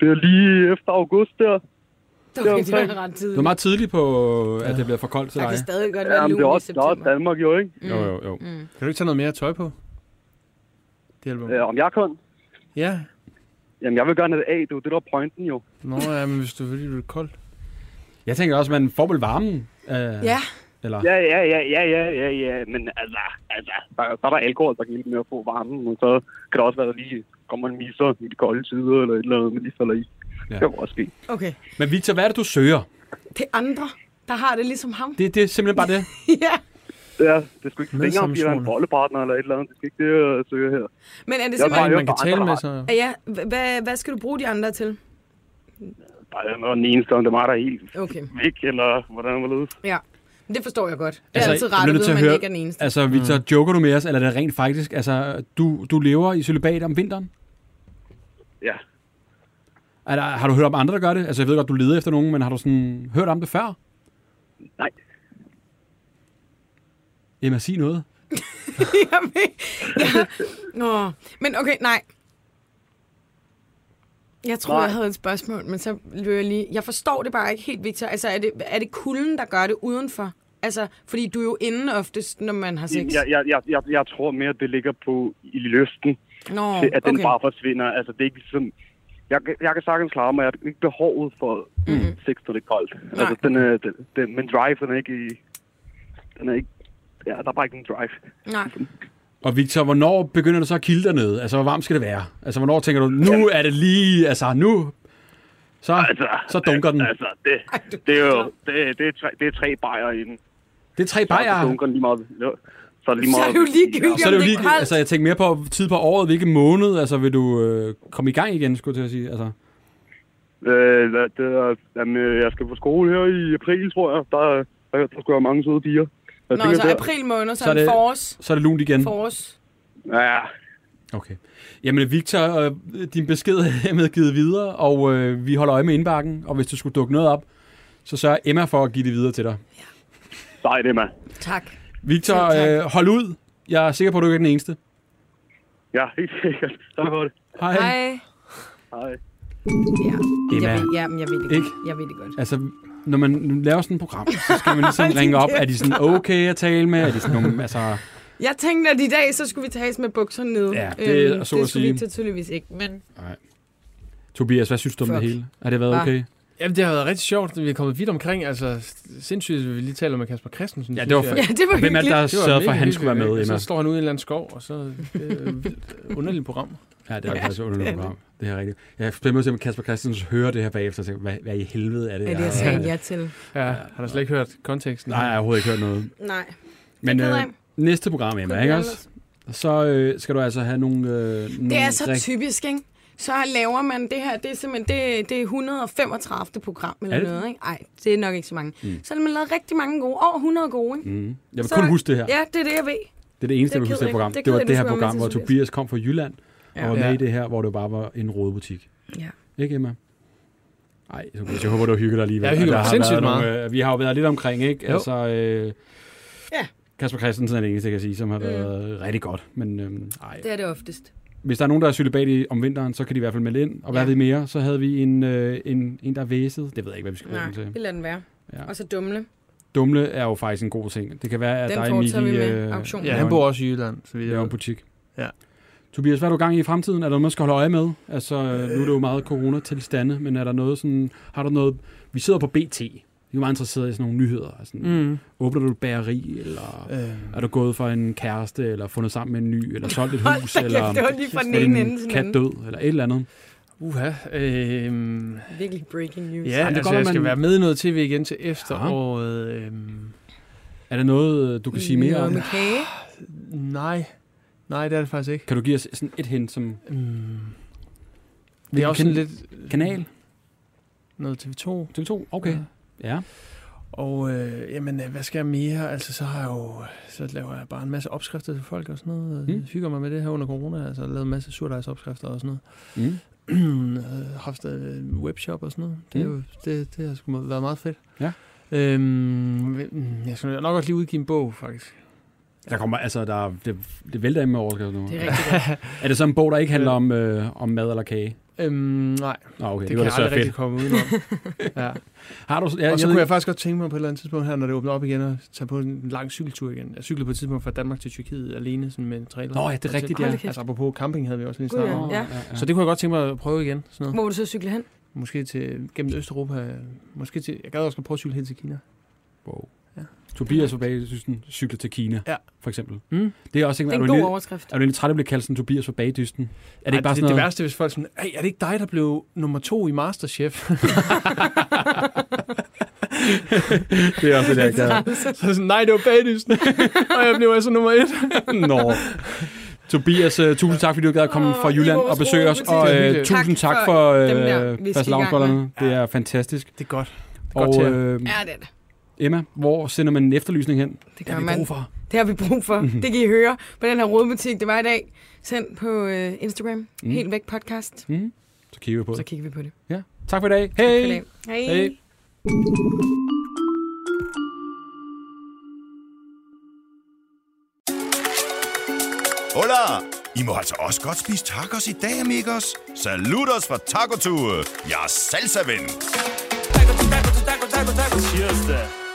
det er lige efter august der. Okay, det omkring. er ret Du tidligt. er meget tidlig på, at det bliver for koldt til Der dig. kan stadig godt være Jamen, det er lun i også, der er også september. Danmark jo, ikke? mm. Jo, jo, jo. Kan du ikke tage noget mere tøj på? Det hjælper mig. Øh, om jeg kan? Ja. Jamen, jeg vil gerne have det af. Det er jo det, der er pointen jo. Nå ja, men hvis du fordi du er koldt. Jeg tænker også, man får vel varmen. Øh, Ja, Eller, Ja, ja, ja, ja, ja, ja, ja. Men altså, altså der, der er der alkohol, der kan hjælpe med at få varmen. Og så kan der også være, at der lige kommer en miser i de kolde tider, eller et eller andet, men lige falder i. Ja. Ja. Det kan også ske. okay. Men Victor, hvad er det, du søger? Det er andre, der har det ligesom ham. Det, det er simpelthen bare det. ja. Ja, det skulle ikke det er ikke engang, fordi der er en Medsammensvorne. bollepartner eller et eller andet. Det skal ikke det, jeg søger her. Men er det Jeg Nej, simpelthen... jo man kan bare tale andre, med sig. der Ja, hva- hva- hvad skal du bruge de andre til? Bare jeg var den eneste, om det var der er helt Okay, væk, eller hvordan var det? ja. Det forstår jeg godt. Det Altså, er altså, altid jeg rart bliver at nødt til at vide, at man høre- ikke er den eneste. Altså, Victor, mm. joker du med os, eller er det rent faktisk? Altså, du, du lever i celibat om vinteren? Ja. Er der, har du hørt om andre, der gør det? Altså, jeg ved godt, du leder efter nogen, men har du sådan hørt om det før? Nej. Jamen, sig noget. Jeg ved- ja. Nå, men okay, nej. Jeg tror, Nej. jeg havde et spørgsmål, men så løber jeg lige... Jeg forstår det bare ikke helt, Victor. Altså, er det, er det kulden, der gør det udenfor? Altså, fordi du er jo inde oftest, når man har sex. Jeg, jeg, jeg, jeg, jeg tror mere, at det ligger på i lysten, Nå, til, at den okay. bare forsvinder. Altså, det er ikke sådan... Jeg, kan- jeg kan sagtens klare mig. Jeg har ikke behovet for Mhm. mm. sex, når det er koldt. Altså, den er, den, den, men drive, den er ikke i... Den er ikke... Ja, der er bare ikke en drive. Nej. Og Victor, hvornår begynder du så at kilde dernede? Altså, hvor varmt skal det være? Altså, hvornår tænker du, nu er det lige, altså, nu... Så, Altså, så dunker den. Altså, det, det er jo... Det, det, er, tre, det er tre bajer i den. Det er tre Så ja. bajer. dunker den lige meget... Så er det lige Ah. Så meget... er det jo ligegyldigt, Så er det jo om det er lige, koldt. altså jeg tænker mere på tid på året, hvilken måned, altså vil du øh, komme i gang igen, skulle jeg til at sige. Altså, Øh, hvad, det er, jamen, øh, jeg skal på skole her i april, tror jeg. Der, er- der, der skal være mange søde piger. Jeg Nå, tænker, så der- april måned, så, Så er så er det det- forårs. så er det lunt igen. forårs. Ja, Okay. Jamen Victor, øh, din besked er hermed givet videre, og øh, vi holder øje med indbakken, og hvis du skulle dukke noget op, så sørger Emma for at give det videre til dig. sej det, mand. Tak. Victor, Selv tak. øh, hold ud. Jeg er sikker på, at du ikke er den eneste. Ja, helt sikkert. Tak for det. Hej. Hej. Hej. Ja. Emma. Jeg ved, ja, men jeg ved det Ikke? godt. Jeg ved det godt. Altså, når man laver sådan et program, så skal man ligesom ringe op. Er de sådan okay at tale med? Er de sådan nogle, altså... Jeg tænkte, at i dag, så skulle vi tages med bukserne nede. Ja, det er så at det skulle sige. vi til- tydeligvis ikke, men Tobias, hvad synes du om det Fuck. hele? Har det været Hva? okay? Jamen, det har været rigtig sjovt, at vi er kommet vidt omkring. Altså, sindssygt, at vi lige taler med Kasper Christensen. Ja, det synes var jeg. fa- ja, det var Hvem er det, hyggeligt. der har Det var sørget for, at mega han skulle være hyggeligt, med, ikke? Emma? Og så står han ude i en eller anden skov, og så det er et vildt øh, underligt program. Ja, det er faktisk et underligt program. Det er rigtigt. Jeg bliver nødt til, at Kasper Christensen hører det her bagefter og tænker, hvad, hvad i helvede er det? Er det, jeg har- sagde ja til? Ja, har du slet ikke hørt konteksten? Nej, jeg har overhovedet ikke hørt noget. Nej. Men Det er øh, ked af. næste program, Emma, Kunne ikke vi også? Så øh, skal du altså have nogle... Øh, nogle Det er så rigt- typisk, ikke? Så laver man det her, det er simpelthen det, det er 135. program eller Er det noget, ikke? Ej, det er nok ikke så mange. Mm. Så har man lavet rigtig mange gode, over 100 gode, ikke? Mm. Jeg vil Så- kun huske det her. Ja, det er det, jeg ved. Det er det eneste, Det jeg vil huske gider det her ikke. program. Det Det, det var gider du det her skulle være program, med hvor til, Tobias. Tobias kom fra Jylland og var med Ja. i det her, hvor det bare var en rodebutik. Ja. Ikke, Emma? Nej, Tobias, jeg håber, du har hygget dig alligevel. Jeg har hygget Og der mig har sindssygt været nogle, øh, vi har jo været lidt omkring, ikke? Jo. Altså, øh, Ja. Kasper Christensen er det eneste, jeg kan sige, som har været mm. rigtig godt. Men øhm, ej. Det er det oftest. hvis der er nogen, der er celibat i, om vinteren, så kan de i hvert fald melde ind. Og hvad Ja. ved mere? Så havde vi en, øh, en, en der er væset. Det ved jeg ikke, hvad vi skal bruge Nej, den til. vi lader den være. Ja. Ja. Og så dumle. Dumle er jo faktisk en god ting. Det kan være, at Den der er øh, foretager Emilie... vi med auktionen. Ja, laver han en- bor også i Jylland, så vi laver en er butik. Ja. Tobias, hvad er du gang i i fremtiden? Er der noget, man skal holde øje med? Altså, øh, nu er det jo meget coronatilstande, men er der noget sådan... Har du noget... Vi sidder på BT. Vi er meget interesserede i sådan nogle nyheder. Altså, mm. Åbner du et bageri, eller øh, er du gået for en kæreste, eller fundet sammen med en ny, eller solgt et Hold hus, da eller kæft, det var lige fra den er ene ende til din den kat anden. død, eller et eller andet? uha, øh, Virkelig breaking news. Ej, det Ja, Jamen, er altså, godt, jeg at skal man- være med i noget tv igen til efteråret. Øhm, Er der noget, øh, du kan sige mere om? Noget med kage. nej, nej, det er det faktisk ikke. Kan du give os sådan et hint som Øh. Øhm, det er Hvilken også sådan kan- lidt kanal? noget TV2. TV2? Okay. Ja. Og øh, jamen, øh, hvad skal jeg mere? Altså, så har jeg jo, så laver jeg bare en masse opskrifter til folk og sådan noget. Mm. Mm. Hygger mig med det her under corona. Altså, lavet en masse surdejsopskrifter og sådan noget. Mm. Øh, haft øh, webshop og sådan noget. Det, er Mm. jo, det, det har sgu været meget fedt. Ja. Øhm, mm, jeg skal nok også lige udgive en bog, faktisk. Der kommer, altså, der, er- det, det vælter ind med overskrifter nu. Det er rigtig godt. Er det så en bog, der ikke handler om, øh, om mad eller kage? Øhm, nej, Nå, okay, det, det, det var kan da jeg så aldrig fedt. rigtig komme udenom. ja. Har du, ja, Og så ved kunne ikke- jeg faktisk godt tænke mig på et eller andet tidspunkt her, når det åbner op igen, at tage på en lang cykeltur igen. Jeg cyklede på et tidspunkt fra Danmark til Tyrkiet alene sådan med en trailer. Nå ja, det er rigtigt, ja. Hold da kæft. Altså apropos camping havde vi også lige Gud, snakket ja. om. Nå, Så det kunne jeg godt tænke mig at prøve igen. Sådan noget. Hvor vil du så cykle hen? Måske til, gennem Østeuropa. Måske til, jeg gad også at prøve at cykle helt til Kina. Wow. Tobias var bag, synes den cykler til Kina, Ja. for eksempel. Mm. Det er også Det ikke, er, er en du god egentlig, overskrift. er du egentlig træt af at blive kaldt sådan Tobias for bagdysten? Er det ikke bare det, sådan det noget, værste, hvis folk sådan, "Ej, er det ikke dig, der blev nummer to i Masterchef? det, det er også det, jeg gør. så er jeg sådan, nej, det var bagdysten. og jeg blev altså nummer et. Nå. Tobias, uh, tusind tak, fordi du gad at komme Åh, fra i Jylland vores og besøge os. rodebutik. Og Det var uh, hyggeligt. tusind tak Tak for for dem der, vi skal i gang faste med. Det er fantastisk. Det er godt. Det er godt Og til jer. øh, Ja, det er det. Emma, hvor sender man en efterlysning hen? Det Det gør har vi man. brug for. Det har vi brug for. Det kan I høre på den her rådbutik, det var i dag. Send på øh, Instagram. Mm. Helt væk podcast. Mm. Så kigger vi på Så det. kigger vi på det. Ja. Tak for i dag. Hej. Goddag. Hej. Hej. Hola! I må altså også godt spise tacos i dag, amigos. Saludos fra Taco Tue. Jeg er salsa -ven. Cheers da.